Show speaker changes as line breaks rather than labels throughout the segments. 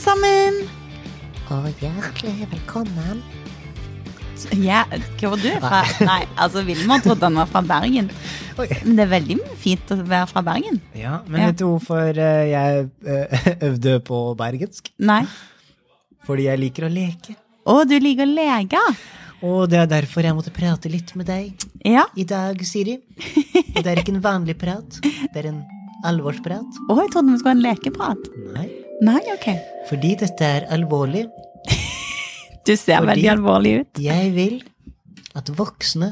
sammen!
Og hjertelig velkommen.
Ja, hva var du fra? Nei, altså Vilmar trodde han var fra Bergen.
Oi.
Men det er veldig fint å være fra Bergen.
Ja, men
Ja.
vet du hvorfor eh, jeg eh, øvde på bergensk?
Nei.
Fordi jeg liker å leke.
Å, du liker å leke.
Og det er derfor jeg måtte prate litt med deg
Ja.
i dag, Siri. Det er ikke en vanlig prat, det er en alvorsprat.
Å, jeg trodde vi skulle ha en lekeprat.
Nei,
Nei, ok.
fordi dette er alvorlig.
Du ser
Fordi-
veldig alvorlig ut.
Jeg vil at voksne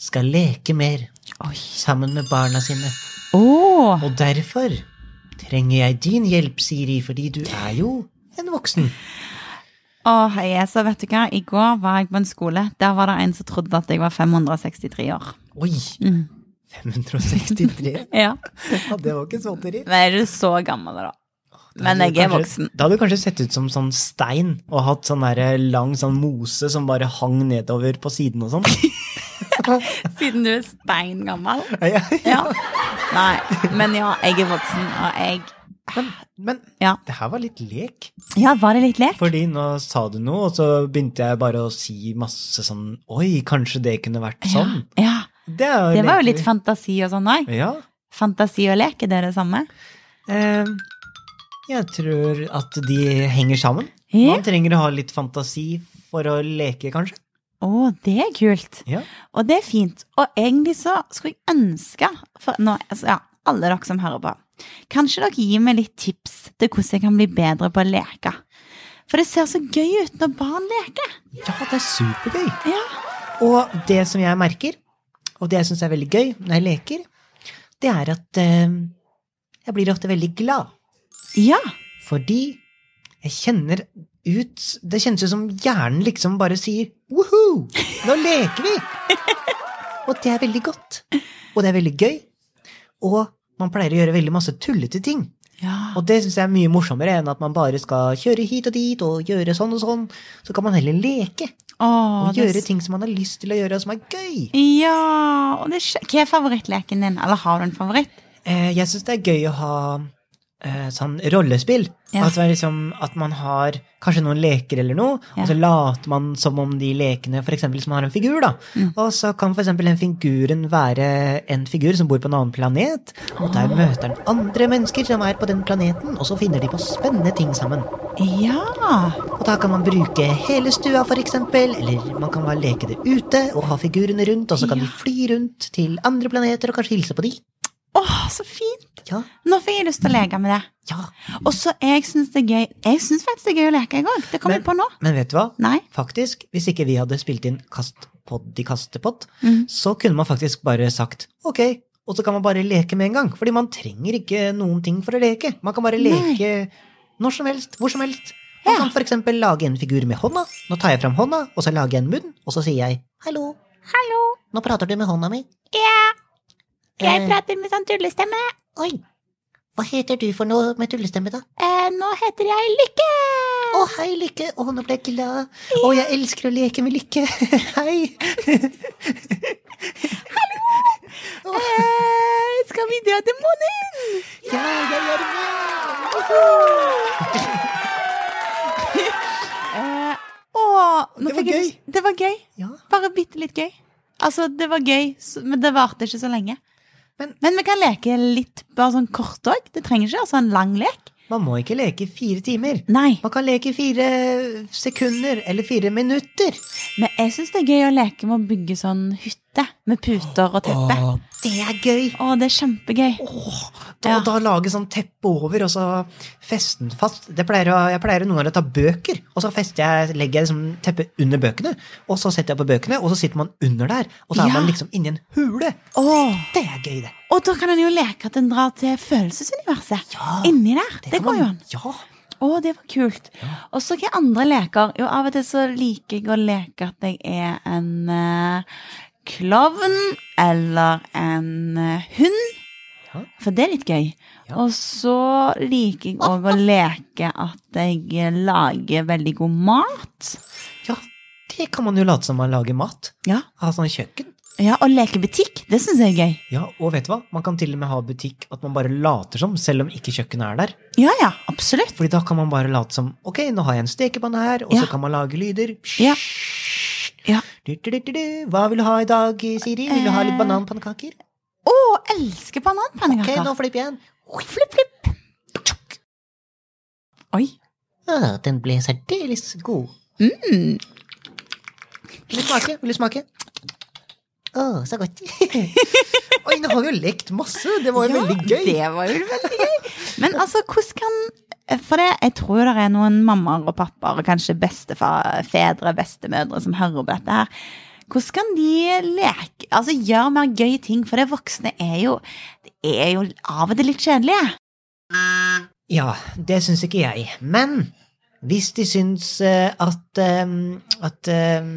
skal leke mer
Oi.
sammen med barna sine.
Å,
Og derfor trenger jeg din hjelp, Siri, fordi du er jo en voksen.
Å, hei, så vet du hva? I går var jeg på en skole. Der var det en som trodde at jeg var 563 år.
Oi!
Mm.
563?
Ja.
Ja, det var ikke småtteri.
Men er du så gammel da? Men jeg er voksen.
Da hadde du kanskje sett ut som sånn stein, og hatt sånn der lang sånn mose som bare hang nedover på siden og sånn.
Siden du er steingammel.
Ja, ja.
Ja. Nei, men ja, jeg er voksen, og jeg
Men, men
Ja.
det her var litt lek.
Ja, var det litt lek?
Fordi nå sa du noe, og så begynte jeg bare å si masse sånn Oi, kanskje det kunne vært sånn.
Ja.
Det, er
Det var jo
leker
litt
vi.
fantasi og sånn òg.
Ja.
Fantasi og lek, er det det samme?
Eh, jeg tror at de henger sammen.
Ja.
Man trenger å ha litt fantasi for å leke, kanskje.
Å, det er kult.
Ja.
Og det er fint. Og egentlig så skulle jeg ønske for nå, altså, ja, alle dere som hører på, kanskje dere gir meg litt tips til hvordan jeg kan bli bedre på å leke. For det ser så gøy ut når barn leker.
ja, det er supergøy.
Ja.
Og det som jeg merker, og det jeg syns er veldig gøy når jeg leker, det er at eh, jeg blir ofte veldig glad.
Ja.
Fordi jeg kjenner ut Det kjennes ut som hjernen liksom bare sier woho, nå leker vi! og det er veldig godt. Og det er veldig gøy. Og man pleier å gjøre veldig masse tullete ting.
Ja.
Og det syns jeg er mye morsommere enn at man bare skal kjøre hit og dit og gjøre sånn og sånn. Så kan man heller leke
Å,
og
det er
gjøre ting som man har lyst til å gjøre, og som er gøy.
Ja, og det er skjø- Hva er favorittleken din? Eller har du en favoritt?
Eh, jeg syns det er gøy å ha eh, sånn rollespill.
Ja.
At, det er liksom, at man har kanskje noen leker eller noe, og så later man som om de lekene For eksempel hvis man har en figur, da.
Mm.
Og så kan for eksempel den figuren være en figur som bor på en annen planet, og der møter den andre mennesker som er på den planeten, og så finner de på spennende ting sammen.
Ja.
Og da kan man bruke hele stua, for eksempel, eller man kan bare leke det ute og ha figurene rundt, og så kan
Ja.
de fly rundt til andre planeter og kanskje hilse på de.
Åh, så fint!
Ja,
Nå fikk jeg lyst til å leke med det.
ja.
Og så jeg syns det er gøy Jeg synes faktisk det er gøy å leke, jeg òg. Det kom
Men-
jeg på nå.
Men vet du hva?
Nei.
Faktisk, hvis ikke vi hadde spilt inn Kastpod i Kastepott,
Mhm.
så kunne man faktisk bare sagt ok, og så kan man bare leke med en gang. Fordi man trenger ikke noen ting for å leke. Man kan bare leke når som helst, hvor som helst. Man
Ja.
kan for eksempel lage en figur med hånda. Nå tar jeg fram hånda, og så lager jeg en munn, og så sier jeg hallo.
Hallo,
Nå prater du med hånda mi.
jeg
Eh,
prater med sånn tullestemme.
Oi, hva heter du for noe med tullestemme, da?
Eh, nå heter jeg Lykke.
Å, hei, Lykke. Å, nå ble jeg glad. Å, jeg elsker å leke med Lykke. hei.
Eh, skal vi dra til månen?
Ja, jeg er med.
Eh, å, nå
Det var
fikk jeg
gøy.
lyst- Det var gøy.
Ja,
Bare bitte litt gøy. Altså, det var gøy, s- men det varte ikke så lenge. Men,
Men-
vi kan leke litt bare sånn kort òg. Det trenger ikke være sånn lang lek.
man må ikke leke i fire timer.
Nei,
Man kan leke i fire sekunder eller fire minutter.
men jeg syns det er gøy å leke med å bygge sånn hytte med puter og teppe. Å,
det er gøy.
det er kjempegøy.
Åh, da,
Ja.
da lage sånn teppe over, og så feste den fast. Det pleier å, jeg pleier noen ganger å ta bøker, og så fester jeg, legger jeg liksom teppet under bøkene. Og så setter jeg på bøkene, og så sitter man under der. Og så
Ja.
er man liksom inni en hule.
Å,
Det er gøy, det.
og da kan en jo leke at en drar til følelsesuniverset.
Ja,
Inni der. Det,
kan
går
man-
jo an.
Ja.
Å, det var kult. Og så hva andre leker? Jo, av og til så liker jeg å leke at jeg er en eh, klovn eller en eh, hund.
Ja.
For det er litt gøy.
Ja.
Og så liker jeg òg å leke at jeg lager veldig god mat.
ja, det kan man jo late som man lager mat.
Ja.
Ha sånn kjøkken.
Ja, Og lekebutikk, det syns jeg er gøy.
Ja, og vet du hva? Man kan til og med ha butikk at man bare later som, selv om ikke kjøkkenet er der.
Ja, ja, absolutt.
Fordi da kan man bare late som ok, nå har jeg en stekepanne her, og
Ja.
så kan man lage lyder.
Ja. Ja.
Du, du, du, du, du. Hva vil du ha i dag, Siri? Vil du ha litt
Eh.
bananpannekaker?
Å, elsker bananpannekaker.
Ok, nå flipper jeg en.
Flipp, flipp. Tjokk. Oi.
Å, den ble særdeles god.
Mm.
Vil du smake? Vil du smake? Å, så godt. Oi, nå har vi jo lekt masse. Det var
Ja,
jo veldig gøy.
Det var jo veldig gøy. Men altså, hvordan kan For det, jeg tror det er noen mammaer og pappaer, og kanskje bestefedre, bestemødre, som hører på dette her. Hvordan kan de leke, altså gjøre mer gøye ting? For det voksne er jo, det er jo av og til litt kjedelige.
Ja, det syns ikke jeg. Men hvis de syns eh, at eh, at, eh,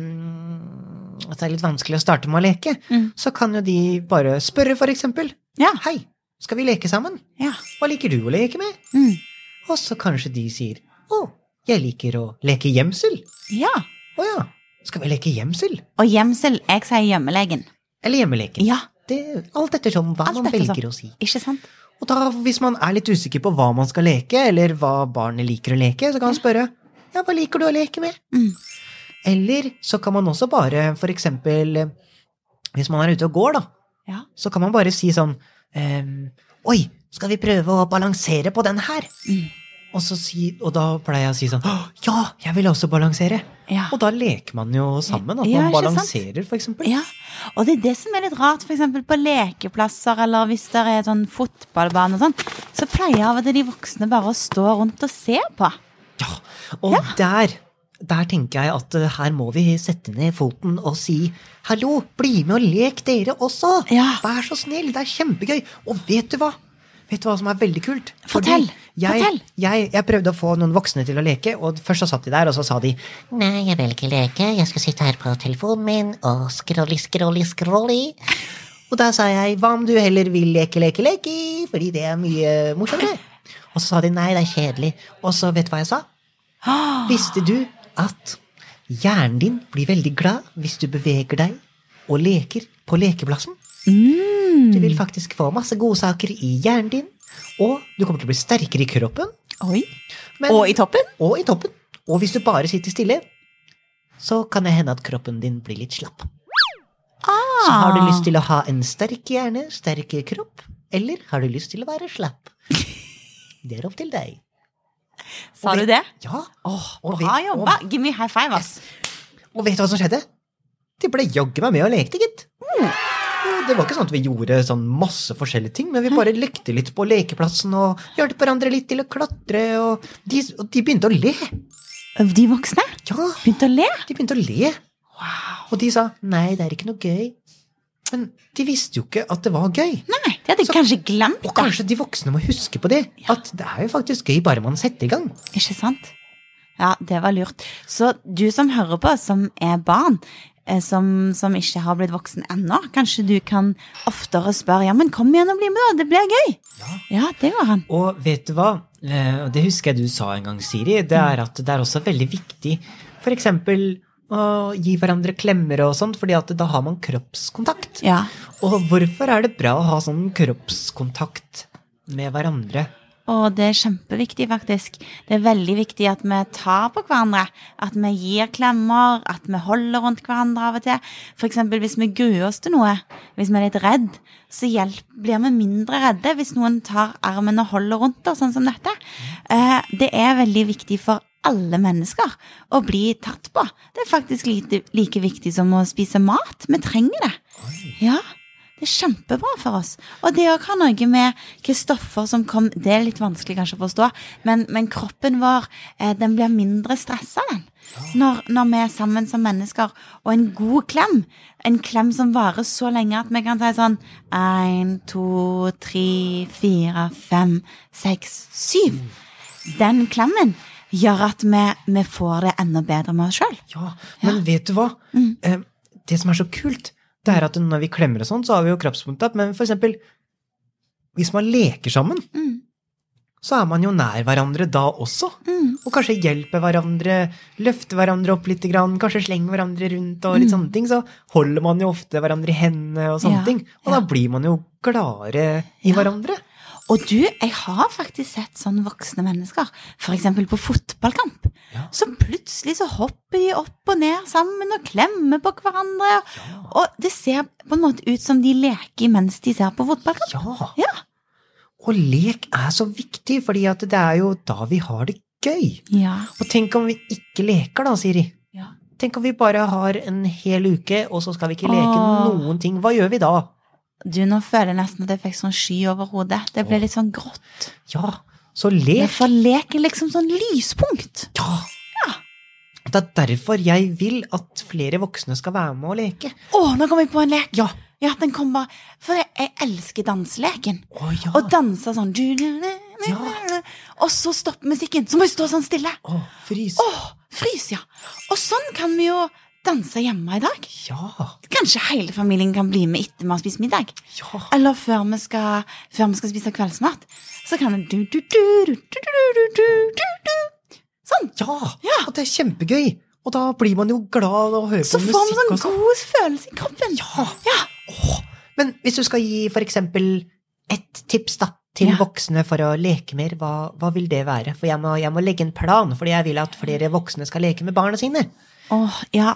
at det er litt vanskelig å starte med å leke,
Mm.
så kan jo de bare spørre, for eksempel.
Ja.
Hei, skal vi leke sammen?
Ja.
Hva liker du å leke med?
Mm.
Og så kanskje de sier å, jeg liker å leke gjemsel.
ja.
Å ja, skal vi leke gjemsel?
Og gjemsel. Jeg sier hjemmelegen.
Eller hjemmeleken.
Ja,
Det, alt ettersom hva
Alt
man
ettersom.
velger å si.
ikke sant?
Og da, hvis man er litt usikker på hva man skal leke, eller hva barnet liker å leke, så kan man spørre ja, hva liker du å leke med?
Mm.
Eller så kan man også bare, for eksempel, eh, hvis man er ute og går, da,
Ja.
så kan man bare si sånn ehm, Oi, skal vi prøve å balansere på den her?
Mm.
Og, så si, og da pleier jeg å si sånn «Å, Ja, jeg vil også balansere.
Ja.
Og da leker man jo sammen. At
Ja,
man
ikke sant?
balanserer, for eksempel.
Ja, og det er det som er litt rart, for eksempel på lekeplasser, eller hvis det er sånn fotballbane og sånn, så pleier av og til de voksne bare å stå rundt og se på.
Ja, og der, der tenker jeg at eh, her må vi sette ned foten og si hallo, bli med og lek dere også.
Ja.
Vær så snill, det er kjempegøy. Og vet du hva? Vet du hva som er veldig kult?
Fortell,
Fordi Jeg,
fortell.
Jeg, jeg prøvde å få noen voksne til å leke, og først så satt de der, og så sa de
Nei, jeg vil ikke leke. Jeg skal sitte her på telefonen min og scrolli, scrolli, scrolli.
Og da sa jeg hva om du heller vil leke, leke, leke, fordi det er mye morsommere. Og så sa de nei, det er kjedelig. Og så vet du hva jeg sa? Visste du at hjernen din blir veldig glad hvis du beveger deg og leker på lekeplassen?
Mm.
Du vil faktisk få masse godsaker i hjernen din, og du kommer til å bli sterkere i kroppen.
Oi.
men-
og i toppen?
og i toppen. Og hvis du bare sitter stille, så kan det hende at kroppen din blir litt slapp. Så har
Ah.
du lyst til å ha en sterk hjerne, sterk kropp, eller har du lyst til å være slapp? Det er opp til deg.
Sa
og
du
vi-
det?
Ja,
Åh,
og vi-
bra jobba. Give me high five, ass.
og vet du hva som skjedde? De ble jaggu meg med og lekte, gitt. Og Det var ikke sånn at vi gjorde sånn masse forskjellige ting, men vi bare lekte litt på lekeplassen og hjalp hverandre litt til å klatre, og de, og de begynte å le.
De voksne
Ja,
begynte å le.
de begynte å le.
Wow.
Og de sa 'nei, det er ikke noe gøy'. Men de visste jo ikke at det var gøy.
Nei, de hadde
Så-
kanskje glemt det.
Og kanskje de voksne må huske på det. At det er jo faktisk gøy bare man setter i gang.
Ikke sant? Ja, det var lurt. Så du som hører på, som er barn, eh, som, som ikke har blitt voksen ennå, kanskje du kan oftere spørre ja, men kom igjen og bli med, da, det blir gøy. Ja, det går an.
Og vet du hva? Eh, og Det husker jeg du sa en gang, Siri. Det er at det er også veldig viktig for eksempel å gi hverandre klemmer og sånt, fordi at da har man kroppskontakt.
Ja.
Og hvorfor er det bra å ha sånn kroppskontakt med hverandre?
Og det er kjempeviktig, faktisk. Det er veldig viktig at vi tar på hverandre. At vi gir klemmer, at vi holder rundt hverandre av og til. For eksempel hvis vi gruer oss til noe, hvis vi er litt redd, så hjelp, blir vi mindre redde hvis noen tar armen og holder rundt oss, sånn som dette. Eh, Det er veldig viktig for alle mennesker å bli tatt på. Det er faktisk lite- like viktig som å spise mat. Vi trenger det. Ja, det er kjempebra for oss. Og det òg har noe med hvilke stoffer som kom Det er litt vanskelig kanskje å forstå, men, men kroppen vår eh, den blir mindre stressa den. Når, når vi er sammen som mennesker, og en god klem, en klem som varer så lenge at vi kan si sånn én, to, tre, fire, fem, seks, syv. Den klemmen gjør at vi, vi får det enda bedre med oss sjøl.
Ja, men vet du hva? Eh, Det som er så kult, det er at når vi klemmer og
Mm,
sånn, så har vi jo kroppskontakt, men for eksempel hvis man leker sammen, så er man jo nær hverandre da også.
mm.
Og kanskje hjelper hverandre, løfter hverandre opp litt, grann, kanskje slenger hverandre rundt og litt sånne ting. Så holder man jo ofte hverandre i hendene og sånne
Mm. Ja,
ting. Og da
ja.
blir man jo gladere i hverandre.
Og du, jeg har faktisk sett sånne voksne mennesker, f.eks. på fotballkamp.
Ja.
Så plutselig så hopper de opp og ned sammen og klemmer på hverandre. Og det ser på en måte ut som de leker mens de ser på fotballkamp.
Ja.
Ja.
Og lek er så viktig, fordi at det er jo da vi har det gøy.
Ja.
Og tenk om vi ikke leker da, Siri.
Ja.
Tenk om vi bare har en hel uke, og så skal vi ikke leke
Åh.
noen ting. Hva gjør vi da?
Du, nå føler jeg nesten at jeg fikk sånn sky over hodet. Det ble litt sånn grått.
Ja, så
Det
lek.
for lek er liksom sånn lyspunkt.
Ja. Det er derfor jeg vil at flere voksne skal være med og leke.
Å, nå kom jeg på en lek!
Ja.
Ja, den kom bare For jeg, jeg elsker danseleken.
Å ja.
Og danse sånn
Ja.
Og så stopper musikken. Så må jeg stå sånn stille.
Å, frys.
Åh, frys, ja. Og sånn kan vi jo danse hjemme i dag.
Ja.
Kanskje hele familien kan bli med etter vi har spist middag.
Ja.
Eller før vi skal, før vi skal spise kveldsmat. Så kan det du, du, du, du, du, du, du, du, du, du. Sånn.
Ja.
Ja.
Og det er kjempegøy. Og da blir man jo glad og hører
Så
på
får vi
musikk
sånn
og sånn.
god følelse i kroppen.
Ja.
Ja.
Åh, men hvis du skal gi for eksempel ett tips da, til
Ja.
voksne for å leke mer, hva, hva vil det være? For jeg må, jeg må legge en plan, fordi jeg vil at flere voksne skal leke med barna sine.
Åh, ja.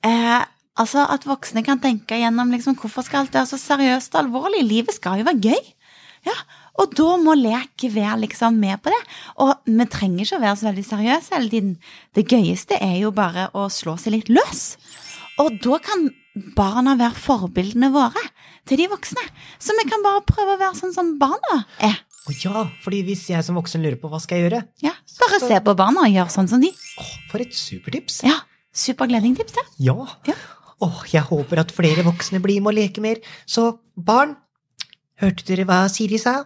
Eh, altså at voksne kan tenke gjennom liksom, hvorfor skal alt være så seriøst og alvorlig? Livet skal jo være gøy. Ja, og da må lek være liksom med på det. Og vi trenger ikke å være så veldig seriøse hele tiden. Det gøyeste er jo bare å slå seg litt løs. Og da kan barna være forbildene våre til de voksne. Så vi kan bare prøve å være sånn som barna er.
Og ja, fordi hvis jeg som voksen lurer på hva skal jeg gjøre,
Ja, bare se på barna og gjøre sånn som de.
åh, for et supertips.
Ja, supergledning-tips, det.
Ja.
Ja.
Åh, jeg håper at flere voksne blir med og leker mer. Så barn, hørte dere hva Siri sa?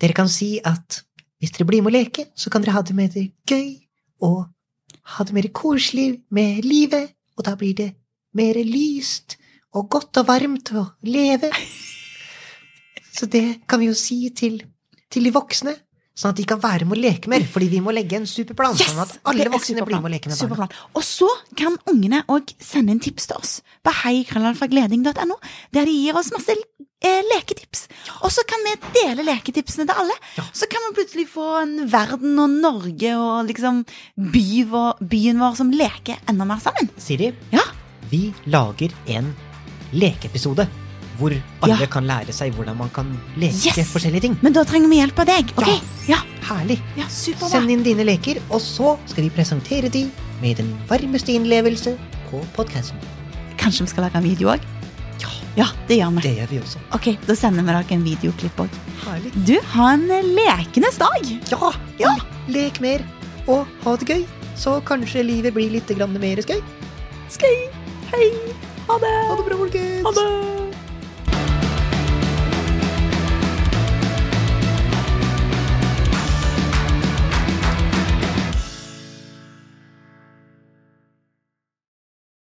Dere kan si at hvis dere blir med og leke, så kan dere ha det mer gøy, og ha det mer koselig med livet, og da blir det mer lyst, og godt og varmt å leve. Så det kan vi jo si til, til de voksne, sånn at de kan være med og leke mer, fordi vi må legge en superplan, sånn at alle
Det er
voksne blir
superplan.
med og leker med barna.
Superplan. Og så kan ungene òg sende inn tips til oss på heikrøllalfagleding.no, der de gir oss masse eh, leketips. Og så kan vi dele leketipsene til alle.
Ja.
Så kan vi plutselig få en verden og Norge og liksom by vår, byen vår som leker enda mer sammen.
Siri,
Ja.
vi lager en lekeepisode hvor alle
Ja.
kan lære seg hvordan man kan leke
Yes!
forskjellige ting.
Men da trenger vi hjelp av deg. Ok? Ja.
Herlig!
ja superbra.
Send inn dine leker, og så skal vi presentere de med den varmeste innlevelse på podkasten.
Kanskje vi skal lage en video òg?
Ja,
Ja, det gjør vi.
det gjør vi også.
Ok, Da sender vi dere en videoklipp òg.
Herlig.
Du, ha en lekenes dag!
Ja, ja! Lek mer, og ha det gøy. Så kanskje livet blir litt grann mer skøy.
Skøy! Hei! Ha det!
Ha det bra, folkens!
Ha det!